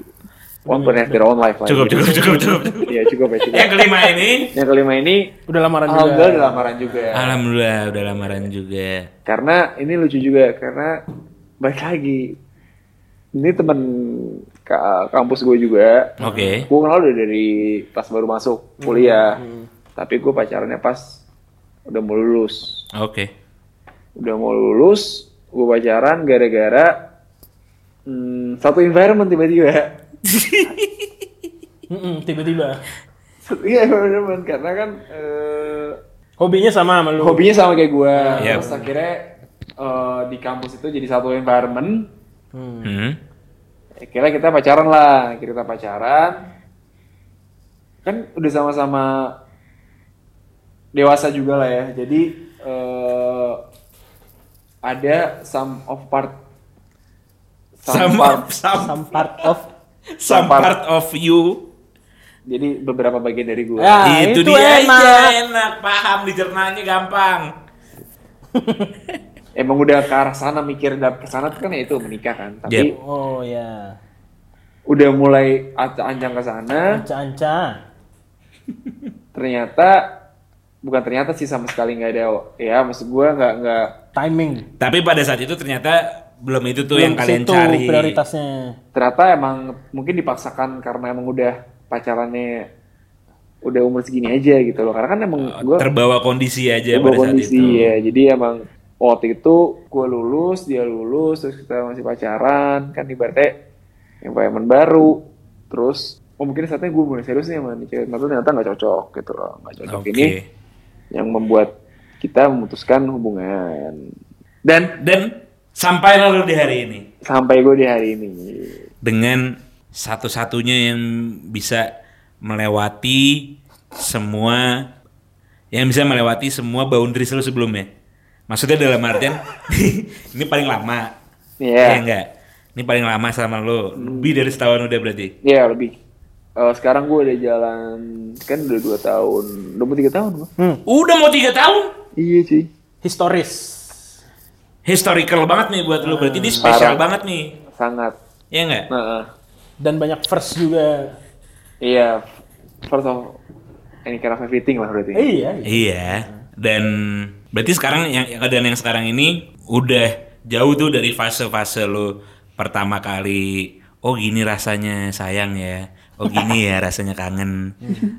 S5: one
S4: Hmm.
S5: pun have their own life lah.
S3: Cukup cukup cukup cukup.
S5: Iya cukup ya cukup.
S3: yang kelima ini,
S5: Yang kelima ini
S4: Udah lamaran
S5: alhamdulillah ada
S4: juga.
S5: lamaran juga.
S3: Ah. alhamdulillah udah lamaran juga.
S5: Karena ini lucu juga karena baik lagi ini temen ka- kampus gue juga.
S3: Oke.
S5: Gue kenal udah dari pas baru masuk kuliah.
S4: Hmm.
S5: Tapi gue pacarannya pas udah mau lulus.
S3: Oke.
S5: udah mau lulus gue pacaran gara-gara hmm, satu environment tiba-tiba *laughs*
S4: Mm-mm, tiba-tiba.
S5: Satu- iya environment karena kan eh,
S4: Hobinya sama sama lu.
S5: hobinya sama kayak gue
S3: Iya.
S5: terus akhirnya eh, di kampus itu jadi satu environment
S4: Hmm.
S3: Hmm.
S5: akhirnya kita pacaran lah akhirnya kita pacaran kan udah sama-sama dewasa juga lah ya jadi eh, ada some of part
S3: Some part, some,
S4: Some part of
S3: some part of you.
S5: Jadi beberapa bagian dari gue.
S4: Ya. Ah,
S3: itu,
S4: itu
S3: dia
S4: enak.
S3: aja enak, paham dicernanya gampang.
S5: Emang udah ke arah sana mikir dan ke sana tuh kan ya itu menikah kan. Tapi
S3: Yep.
S4: Oh ya.
S5: udah mulai ac- ancang ke sana,
S4: Anca-anca.
S5: ternyata bukan ternyata sih sama sekali nggak ada ya maksud gue nggak nggak
S4: timing.
S3: Tapi pada saat itu ternyata belum itu tuh yang
S4: Belum ke
S3: kalian
S4: situ
S3: cari.
S4: prioritasnya.
S5: Ternyata emang mungkin dipaksakan karena emang udah pacarannya udah umur segini aja gitu loh. Karena kan emang
S3: Ya,
S5: gue
S3: Terbawa kondisi aja Iya,
S5: Gua
S3: pada saat
S5: kondisi,
S3: itu.
S5: ya. Jadi emang waktu itu gue lulus, dia lulus, terus kita masih pacaran, kan ibaratnya environment baru. Terus oh mungkin saatnya gue mulai serius nih sama nih cewek, tapi ternyata nggak cocok gitu loh, nggak cocok
S3: Oke.
S5: ini yang membuat kita memutuskan hubungan. Dan
S3: Dan sampai lalu di hari ini
S5: sampai gue di hari ini,
S3: dengan satu-satunya yang bisa melewati semua yang bisa melewati semua boundaries lu sebelumnya. Maksudnya dalam artian *laughs* ini paling lama.
S5: Iya.
S3: Iya enggak? Ini paling lama sama lo. Lebih dari setahun udah berarti.
S5: ya lebih. Eh, sekarang gue udah jalan kan udah dua tahun, udah mau tiga tahun gue.
S4: Hmm.
S3: Udah mau tiga tahun.
S5: Iya cuy.
S4: Historis.
S3: Historical banget nih buat lo. Berarti ini spesial
S5: Parah.
S3: banget nih.
S5: sangat.
S3: Iya enggak?
S5: Nah, eh.
S4: Dan banyak first juga.
S5: Iya, first of any kind of everything lah berarti.
S4: Eh, iya. iya.
S3: Iya. Dan berarti sekarang yang keadaan yang sekarang ini udah jauh tuh dari fase-fase lo pertama kali oh gini rasanya sayang ya. Oh gini ya rasanya kangen.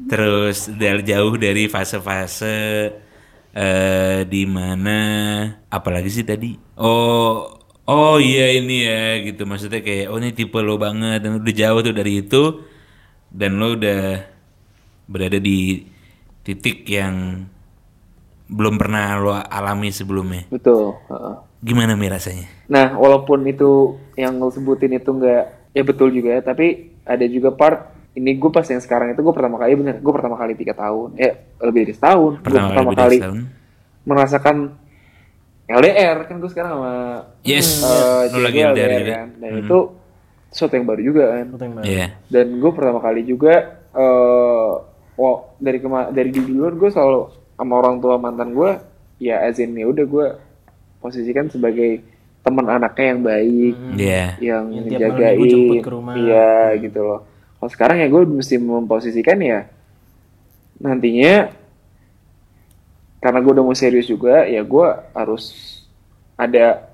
S3: Terus dari jauh dari fase-fase eh di mana apalagi sih tadi? Oh oh iya ini ya gitu maksudnya kayak oh ini tipe lo banget dan udah jauh tuh dari itu dan lo udah berada di titik yang belum pernah lo alami sebelumnya.
S5: Betul. heeh.
S3: Gimana Mi rasanya?
S5: Nah, walaupun itu yang lo sebutin itu nggak, ya betul juga ya, tapi ada juga part ini gue pas yang sekarang itu gue pertama kali bener, gue pertama kali tiga tahun, eh lebih dari setahun, Gua
S3: Pertama,
S5: pertama
S3: kali
S5: kali
S3: beda setahun.
S5: merasakan LDR kan gue sekarang sama
S3: Yes.
S5: eh,
S3: lo
S5: cewek
S3: lagi
S5: gua
S3: dari
S5: LDR kan,
S3: Hmm.
S5: dan itu sesuatu yang baru juga kan.
S4: Itu yang baru.
S3: Iya.
S5: dan gue pertama kali juga eh wow, dari kema dari di dulu gue selalu sama orang tua mantan gue ya azin ya udah gue posisikan sebagai teman anaknya yang baik
S3: Iya.
S4: Yang
S5: yang
S4: tiap malam
S5: ngejagain
S4: minggu jemput ke rumah.
S5: iya gitu loh kalau sekarang ya gue mesti memposisikan ya nantinya karena gue udah mau serius juga ya gue harus ada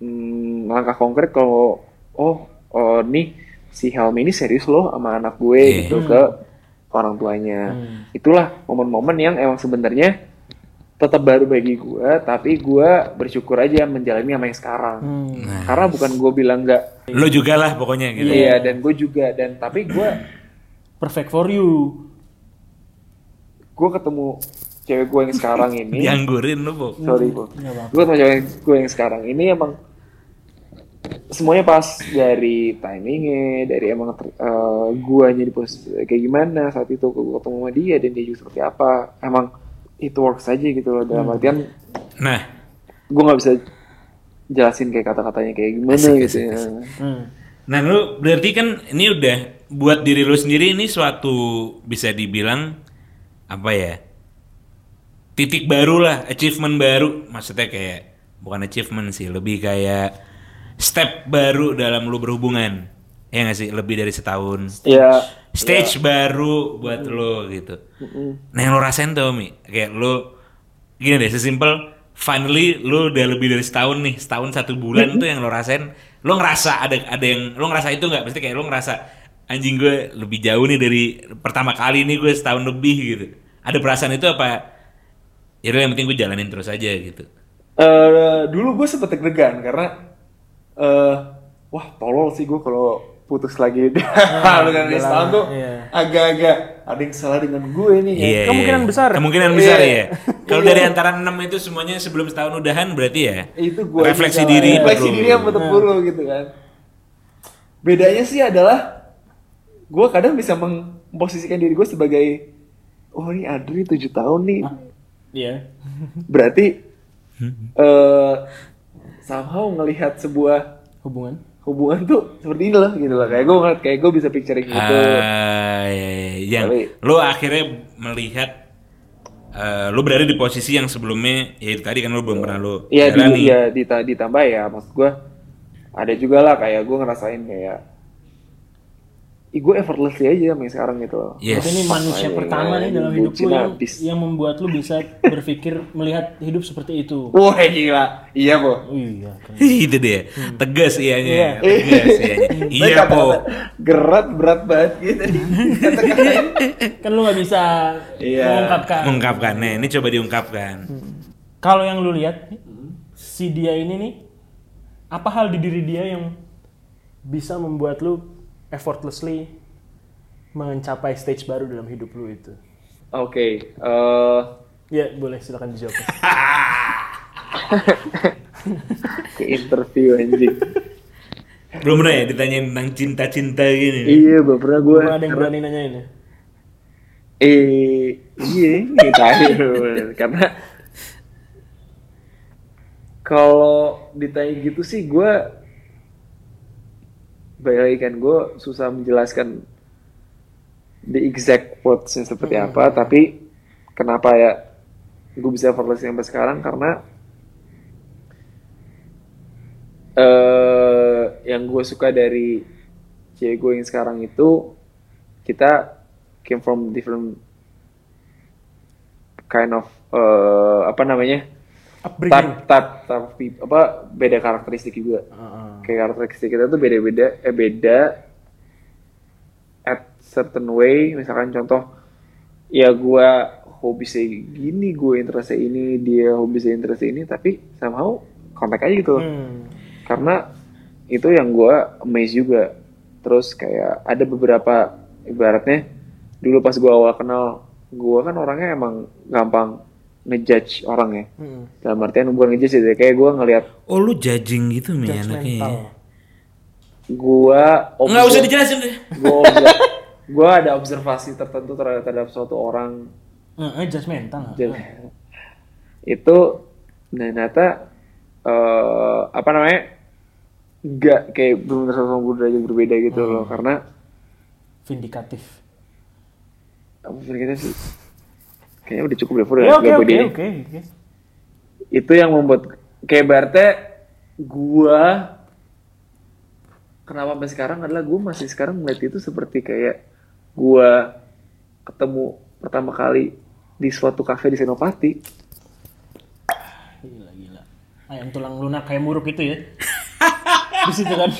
S5: hmm, langkah konkret kalau oh, oh nih si Helmi ini serius loh sama anak gue
S3: Iya.
S5: gitu
S4: Hmm.
S5: ke orang tuanya itulah momen-momen yang emang sebenarnya tetap baru bagi gue tapi gue bersyukur aja menjalani sama yang sekarang
S4: Hmm.
S3: Nah,
S5: karena bukan gue bilang nggak
S3: Lo juga lah pokoknya gitu.
S5: iya dan gue juga dan tapi gue
S4: Perfect for you.
S5: gue ketemu cewek gue yang sekarang
S3: *laughs*
S5: ini
S3: Dianggurin lo, Bo.
S5: sorry gue
S4: Nggak apa-apa.
S5: gue ketemu cewek gue yang sekarang ini emang semuanya pas dari timingnya dari emang ter- eh, guanya di posisi kayak gimana saat itu gue ketemu sama dia dan dia juga seperti apa emang it works aja gitu loh
S4: Hmm.
S5: dalam artian
S3: Nah,
S5: gue nggak bisa jelasin kayak kata-katanya kayak gimana
S3: Asik,
S5: gitu
S3: asik,
S5: ya.
S3: asik.
S4: Hmm.
S3: nah lo berarti kan ini udah buat diri lo sendiri ini suatu bisa dibilang apa ya? Titik baru lah, achievement baru. Maksudnya kayak bukan achievement sih, lebih kayak step baru dalam lo berhubungan. Ya nggak sih? Lebih dari setahun.
S5: ya
S3: stage baru buat lo gitu. Nah yang lo rasain tuh Mi, kayak lo gini deh sesimpel finally lo udah lebih dari setahun nih, setahun satu bulan tuh yang lo rasain, lo ngerasa ada ada yang lo ngerasa itu nggak? Pasti kayak lo ngerasa anjing gue lebih jauh nih dari pertama kali nih gue setahun lebih gitu. Ada perasaan itu apa? Ya udah, yang penting gue jalanin terus aja gitu.
S5: Eh, dulu gue sempet deg-degan karena eh wah tolol sih gue kalau putus lagi *laughs* dengan
S4: udah
S5: setahun
S4: lama,
S5: tuh
S4: iya.
S5: agak-agak ada yang salah dengan gue nih ya.
S3: Iya,
S4: kemungkinan
S3: iya.
S4: besar.
S3: Kemungkinan besar
S5: Iya. *laughs*
S3: ya. Kalau dari antara enam itu semuanya sebelum setahun udahan berarti ya.
S5: itu gue
S3: refleksi diri,
S5: refleksi
S3: betul.
S5: diri yang betul gitu kan bedanya sih adalah gue kadang bisa memposisikan diri gue sebagai oh ini Adri 7 tahun nih
S4: Iya.
S5: berarti
S3: Hmm.
S5: eh somehow ngelihat sebuah
S4: Hubungan.
S5: hubungan tuh seperti ini loh gitu loh kayak gue ngeliat kayak gue bisa picturing gitu
S3: Ah, iya, iya. yang
S5: Tapi-
S3: lo akhirnya melihat eh, lo berada di posisi yang sebelumnya ya itu tadi kan lo belum pernah lo
S5: Iya di,
S3: jalani.
S5: ya, dita- ditambah ya maksud gue ada juga lah kayak gue ngerasain kayak Ih, gue effortlessly aja sama yang sekarang gitu loh.
S3: Yes.
S4: Berarti ini manusia
S5: Wah,
S4: pertama
S5: ini
S4: nih dalam ya. Iya. hidup lu
S5: bucin
S4: yang,
S5: habis.
S4: yang membuat lu bisa berpikir melihat hidup seperti itu.
S5: Wah gila, iya po.
S4: Iya. keren.
S3: *laughs* itu dia tegas
S4: Iya.
S3: ianya tegas
S5: *laughs*
S3: ianya iya
S5: Kata-kata
S3: po
S5: Gerat berat banget
S4: *laughs*
S5: gitu. Kata-kata.
S4: Kan lu nggak bisa
S5: Iya.
S4: mengungkapkan.
S3: mengungkapkan nah ini coba diungkapkan
S4: Kalau yang lu lihat si dia ini nih apa hal di diri dia yang bisa membuat lu effortlessly mencapai stage baru dalam hidup lu itu?
S5: Oke, eh,
S4: Ya, boleh silakan dijawab.
S5: ke interview anjing.
S3: belum pernah ya ditanyain tentang cinta-cinta gini
S5: iya, belum pernah gue.
S4: Belum ada yang berani nanyain ya?
S5: Eh, iya, gitu aja. Karena kalau ditanya gitu sih gue baik lagi kan gue susah menjelaskan the exact words seperti apa tapi kenapa ya gue bisa effortless sampai sekarang karena eh yang gue suka dari cewek gue yang sekarang itu kita came from different kind of eh, apa namanya
S4: Upbringing.
S5: tap tap tap apa beda karakteristik juga
S4: Heeh.
S5: kayak karakteristik kita tuh beda-beda eh beda at certain way misalkan contoh ya gua hobi saya gini gue interestnya ini dia hobi saya interestnya ini tapi somehow kontak aja gitu loh
S4: Hmm.
S5: karena itu yang gua amazed juga terus kayak ada beberapa ibaratnya dulu pas gua awal kenal gua kan orangnya emang gampang ngejudge orang ya
S4: Hmm.
S5: dalam artian bukan ngejudge sih kayak gua ngelihat
S3: oh lu judging gitu mi anaknya ya.
S4: Judgmental.
S5: gua
S3: nggak usah
S5: observe- *laughs*
S3: dijelasin deh
S5: gue gue ada observasi tertentu terhadap, terhadap suatu orang
S4: Heeh, Eh, judgmental.
S5: dan itu nah, ternyata eh, apa namanya nggak kayak benar sama gue derajat berbeda gitu
S3: Hmm.
S5: loh karena
S4: Vindikatif.
S5: mungkin kita gitu sih kayaknya udah cukup deh Fur,
S4: Ya,
S5: nggak
S4: Oke,
S5: perlu
S4: oke,
S5: di-
S4: oke, oke.
S5: itu yang membuat kayak berarti gue kenapa sampai sekarang adalah gue masih sekarang melihat itu seperti kayak gue ketemu pertama kali di suatu kafe di Senopati
S4: Gila, gila. Ayam tulang lunak kayak muruk itu ya. Di situ kan.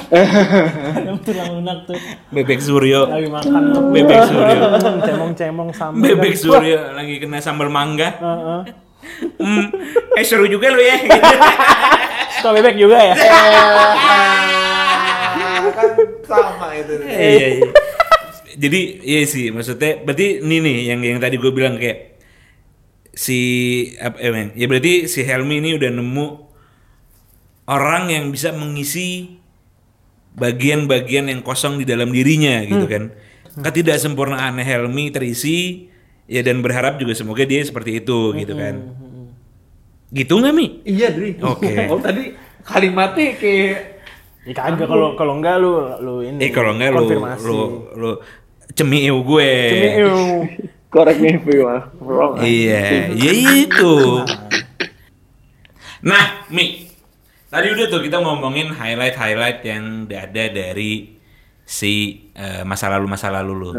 S4: Ayam tulang lunak tuh.
S3: bebek suryo
S4: Lagi makan tuh.
S3: bebek suryo
S4: Hmm, Cemong-cemong sama.
S3: bebek suryo lagi kena sambal mangga
S4: Heeh.
S3: Hmm, eh seru juga lu ya
S4: Suka bebek juga ya?
S3: iya iya. Jadi iya sih maksudnya berarti ini nih yang yang tadi gue bilang kayak si apa eh, men, ya berarti si Helmi ini udah nemu orang yang bisa mengisi bagian-bagian yang kosong di dalam dirinya gitu kan. Ketidaksempurnaan Helmi terisi ya dan berharap juga semoga dia seperti itu gitu kan. Gitu nggak Mi?
S5: iya Dri
S3: Oke.
S5: *laughs* oh tadi kalimatnya kayak
S4: Ya kagak kalau kalau enggak lu lu ini.
S3: Eh kalau nggak lu
S4: konfirmasi.
S3: lu Eh. lu cemiu gue. *laughs*
S4: Cemiu.
S5: correct me if you are wrong
S3: Iya, ya itu. Nah, Mi, tadi udah tuh kita ngomongin highlight-highlight yang ada dari si eh, masa lalu masa lalu lu.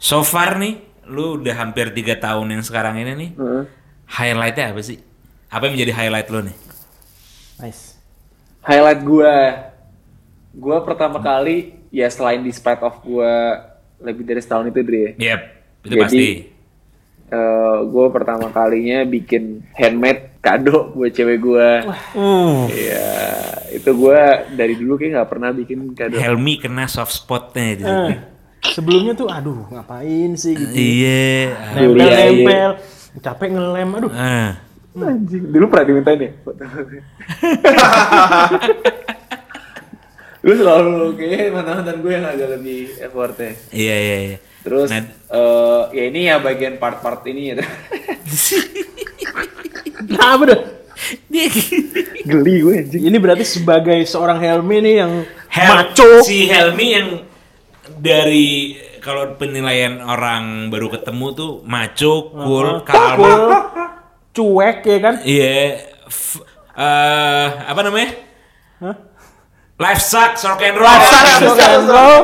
S3: So far nih, lu udah hampir tiga tahun yang sekarang ini nih.
S5: Heeh.
S3: Highlightnya apa sih? Apa yang menjadi highlight lu nih?
S4: Nice.
S5: highlight gue gue pertama kali ya selain despite of gue lebih dari setahun itu Dri ya
S3: Yep, itu
S5: Jadi-
S3: pasti.
S5: gue pertama kalinya bikin handmade kado buat cewek gue.
S3: Uh.
S5: Iya, itu gue dari dulu kayak nggak pernah bikin kado.
S3: Helmi kena soft spotnya di situ.
S4: Eh, sebelumnya tuh aduh ngapain sih gitu.
S3: Iya.
S4: Nempel-nempel. Capek ngelem. Aduh.
S3: ah.
S5: Anjing, dulu pernah dimintain
S3: *laughs*
S5: ya? gue selalu kayaknya mantan-mantan gue yang agak lebih effortnya.
S3: Iya, iya, iya.
S5: Terus
S3: Nah-
S5: eh, ya ini ya bagian part-part ini ya.
S4: Kenapa dah?
S5: Geli gue anjing.
S4: Ini berarti sebagai seorang Helmi nih yang
S3: Hel-
S4: maco.
S3: Si Helmi yang dari kalau penilaian orang baru ketemu tuh maco, cool, kalem.
S4: Cool, cuek ya kan?
S3: Iya. f- eh, apa namanya?
S4: Hah?
S3: Life sucks, rock and roll.
S4: Rock and roll.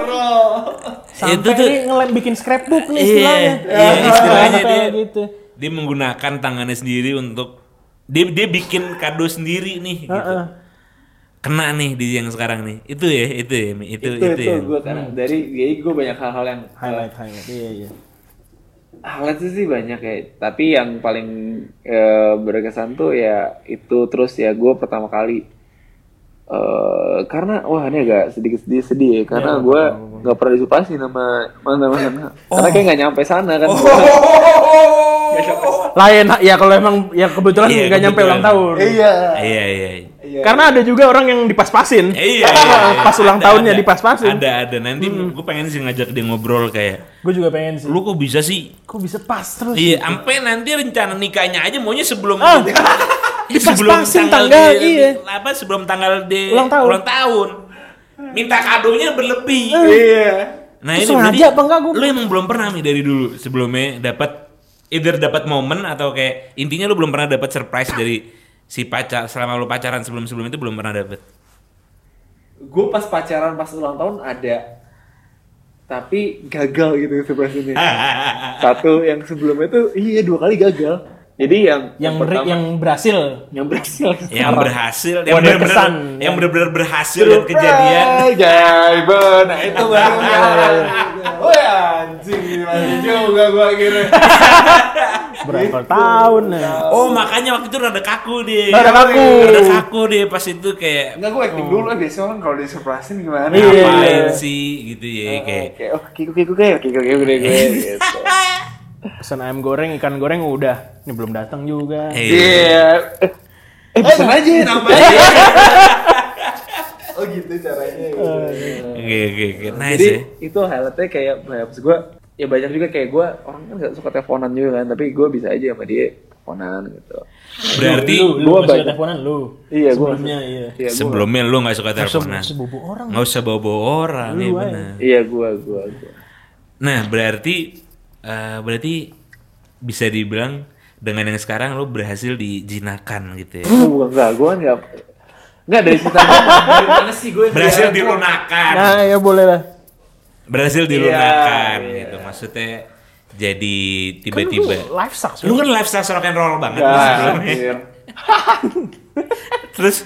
S4: Sampai
S3: Iya, Itu tuh-
S4: ini ngelem bikin scrapbook nih
S3: Iya,
S4: istilahnya.
S3: iya, istilahnya
S4: Sampai
S3: dia-
S4: gitu.
S3: Dia menggunakan tangannya sendiri untuk dia dia bikin kado sendiri nih gitu.
S4: Heeh.
S3: Kena nih di yang sekarang nih. Itu ya, itu ya, Mi. itu
S5: itu
S3: itu,
S5: itu,
S3: ya.
S5: gue karena dari jadi gue banyak hal-hal yang
S4: Highlight, highlight. Iya, iya.
S5: highlight sih banyak ya tapi yang paling eh, berkesan tuh ya itu terus ya gue pertama kali eh karena wah ini agak sedikit sedih sedih ya karena gue nggak pernah disupasin sama mana mana
S4: Oh.
S5: karena kayak nggak nyampe sana kan
S4: Lain ya kalau emang ya kebetulan
S3: Iya,
S4: nggak nyampe
S3: kebetulan.
S4: ulang tahun.
S3: Iya, iya. iya.
S4: Karena ada juga orang yang dipas-pasin. *laughs*
S3: Iya, iya, iya.
S4: Pas ulang
S3: Ada,
S4: tahunnya
S3: ada.
S4: dipas-pasin. Hmm.
S3: Ada, ada. Nanti gue pengen sih ngajak dia ngobrol kayak,
S4: Gue juga pengen sih.
S3: lu kok bisa sih?
S4: Kok bisa pas terus?
S3: Iya, sampai nanti rencana nikahnya aja maunya *laughs* sebelum
S4: Ah,
S3: Ih,
S4: dipas-pasin tanggal,
S3: di-
S4: iya.
S3: apa sebelum tanggal di
S4: Ulang tahun.
S3: tahun. Minta kadonya berlebih.
S5: iya
S3: Nah,
S4: Terus
S3: ini
S4: sengaja
S3: berarti
S4: apa enggak gua-
S3: Lu emang belum pernah nih dari dulu sebelumnya dapat either dapat momen atau kayak intinya lu belum pernah dapat surprise dari si pacar selama lu pacaran sebelum-sebelum itu belum pernah dapat.
S5: gue pas pacaran pas ulang tahun ada tapi gagal gitu surprise
S4: *laughs*
S5: ini satu yang sebelumnya tuh iya dua kali gagal jadi yang
S4: Yang ber-
S5: pertama-
S4: yang berhasil.
S5: yang berhasil
S3: yang berhasil, yang
S4: Wonder
S3: benar-benar
S4: kesan.
S3: yang benar-benar berhasil dan kejadian.
S5: Jaiben, nah itu baru Woi anjing gimana juga gua akhirnya.
S4: Berapa tahun ya?
S3: Oh, makanya waktu itu rada kaku deh.
S5: Iya,
S4: Rada kaku.
S3: Rada kaku deh pas itu kayak
S5: Enggak gua acting dulu lah biasanya orang kalau disurprisein gimana.
S4: Iya, iya.
S3: ngapain sih gitu ya kayak.
S5: Oke, oh kiku kiku kayak kiku kiku deh *laughs* gue. gitu.
S4: Pesan ayam goreng, ikan goreng udah. Ini belum datang juga.
S3: eh,
S5: Iya. Eh, Eh, pesen aja namanya. Oh gitu caranya. gitu.
S3: Oke oke oke. Nice
S5: Jadi
S3: ya.
S5: itu highlightnya kayak banyak Terus gua ya banyak juga kayak gua orang kan gak suka teleponan juga kan tapi gua bisa aja sama dia teleponan gitu.
S3: Berarti
S4: lu, lu
S5: gua
S4: masih
S5: banyak-
S4: teleponan lu.
S5: Iya, gua
S4: Sebelumnya iya.
S5: Iya, gua-
S3: sebelumnya lu nggak suka teleponan.
S4: Sebubu orang.
S3: Nggak usah bawa-bawa orang ya
S4: aja.
S3: benar.
S5: Iya gua gua gua.
S3: Nah, berarti eh, berarti bisa dibilang dengan yang sekarang lu berhasil dijinakan gitu ya.
S5: Gua bukan enggak, gua kan enggak enggak dari cerita gua. Gimana sih gue?
S3: Berhasil dilunakan.
S4: Nah, ya boleh lah.
S3: berhasil dilunakan gitu maksudnya jadi tiba-tiba
S4: Life sucks.
S3: lu Ya, iya. kan lifestyle rock and roll banget
S5: Enggak,
S3: sebelumnya.
S5: anjir.
S3: *laughs* terus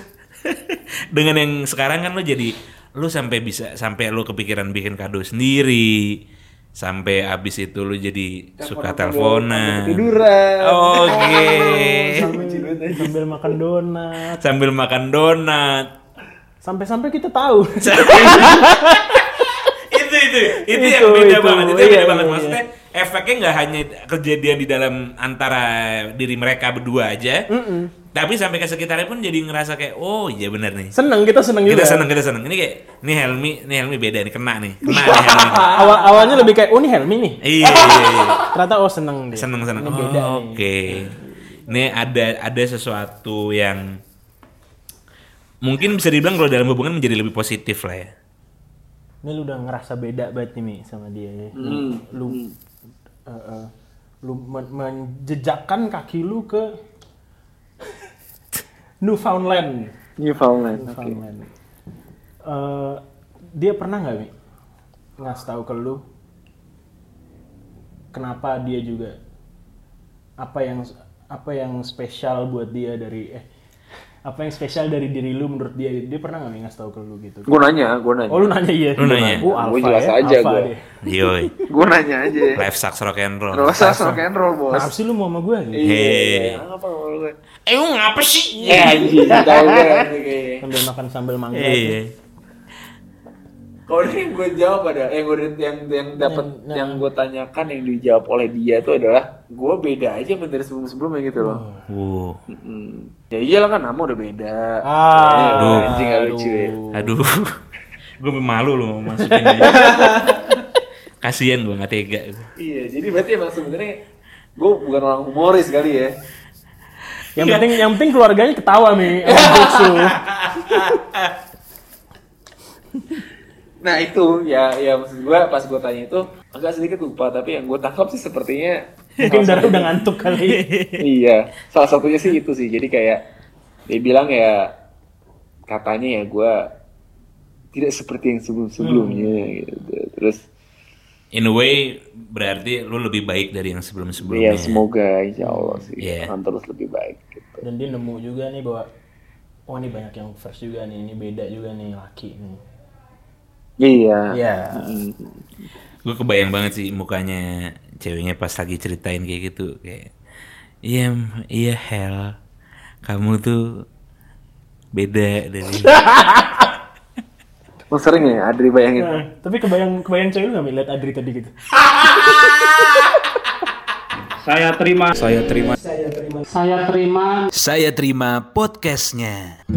S3: *laughs* dengan yang sekarang kan lu jadi lu sampai bisa sampai lu kepikiran bikin kado sendiri sampai abis itu lu jadi suka teleponan Oh,
S5: Tiduran.
S3: oke eh.
S5: Sambil ciduran aja.
S4: sambil makan donat.
S3: sambil makan donat
S4: Sampai-sampai kita tahu. *laughs*
S3: *laughs* itu itu itu
S4: Itu,
S3: yang beda
S4: itu.
S3: banget itu yang
S4: Iya,
S3: beda banget
S4: iya,
S3: maksudnya efeknya nggak hanya kejadian di dalam antara diri mereka berdua aja tapi sampai ke sekitarnya pun jadi ngerasa kayak oh iya benar nih
S4: seneng kita seneng
S3: kita
S4: juga.
S3: seneng kita seneng ini kayak ini Helmi ini Helmi beda nih kena nih kena nih Helmi
S4: Awal awalnya lebih kayak oh ini Helmi nih.
S3: iya iya, iya.
S4: Ternyata oh seneng dia.
S3: seneng seneng
S4: Ini
S3: oh,
S4: beda
S3: oke ini ada ada sesuatu yang mungkin bisa dibilang kalau dalam hubungan menjadi lebih positif lah ya
S4: Ini lu udah ngerasa beda banget nih Mi, sama dia. ya. Lu eh, eh, lu men- menjejakkan kaki lu ke *laughs* Newfoundland.
S5: Newfoundland. Oke.
S4: Newfoundland. Eh, dia pernah nggak Mi ngasih tahu ke lu kenapa dia juga apa yang apa yang spesial buat dia dari eh apa yang spesial dari diri lu menurut dia dia pernah nggak Mi ngasih tahu ke lu gitu
S5: Gua nanya, gua nanya.
S4: oh lu nanya iya
S3: Lu nanya.
S4: oh, alpha
S5: Gua jelas
S4: ya
S5: aja
S4: alpha
S5: gua.
S4: dia.
S3: yoi
S5: Gua nanya aja.
S3: life sucks rock and roll
S5: Enggak usah rock and roll, Bos.
S4: Kenapa sih lu mau sama gue
S5: Iya.
S4: gitu?
S3: Hei.
S5: Apa kalau gue?
S3: Eh, lu ngapa sih?
S5: Eh, anjing, tahu kan? gue
S3: *laughs*
S5: anjing kayaknya.
S4: Sambil makan sambil mangga. tuh.
S3: Iya.
S5: Kalau ini yang gue jawab ada yang gue yang yang
S4: Nah,
S5: dapat
S4: Yang-
S5: yang gue tanyakan yang dijawab oleh dia tuh adalah gue beda aja bener sebelum sebelumnya gitu loh.
S3: Wow.
S5: Hmm. Ya iyalah kan nama udah beda.
S4: Ah,
S5: Eh, anjing gak lucu ya.
S3: Aduh. gue malu loh masukin aja. Kasian gue nggak tega.
S5: Iya, jadi berarti emang sebenarnya gue bukan orang humoris kali ya.
S4: Yang penting yang penting keluarganya ketawa nih.
S5: *laughs*
S4: sama jokes lu.
S5: Nah itu ya ya maksud gue pas gue tanya itu agak sedikit lupa tapi yang gue tangkap sih sepertinya
S4: Mungkin darah udah ngantuk kali.
S5: iya salah satunya sih itu sih jadi kayak dia bilang ya katanya ya gue tidak seperti yang sebelum sebelumnya gitu terus
S3: in a way berarti lu lebih baik dari yang sebelum-sebelumnya.
S5: Iya, semoga insya Allah sih
S3: Iya.
S5: akan terus lebih baik gitu.
S4: dan dia nemu juga nih bahwa wah ini banyak yang first juga nih ini beda juga nih laki nih
S5: Iya.
S4: iya
S3: Gue kebayang banget sih mukanya ceweknya pas lagi ceritain kayak gitu kayak iya M, iya Hel kamu tuh beda dari
S5: Emang sering ya Adri bayangin.
S3: Iya.
S4: Nah, tapi kebayang kebayang cewek lu nggak Mi, liat Adri tadi gitu
S2: Saya terima. Saya terima. Saya terima. Saya terima.
S1: Saya terima podcastnya.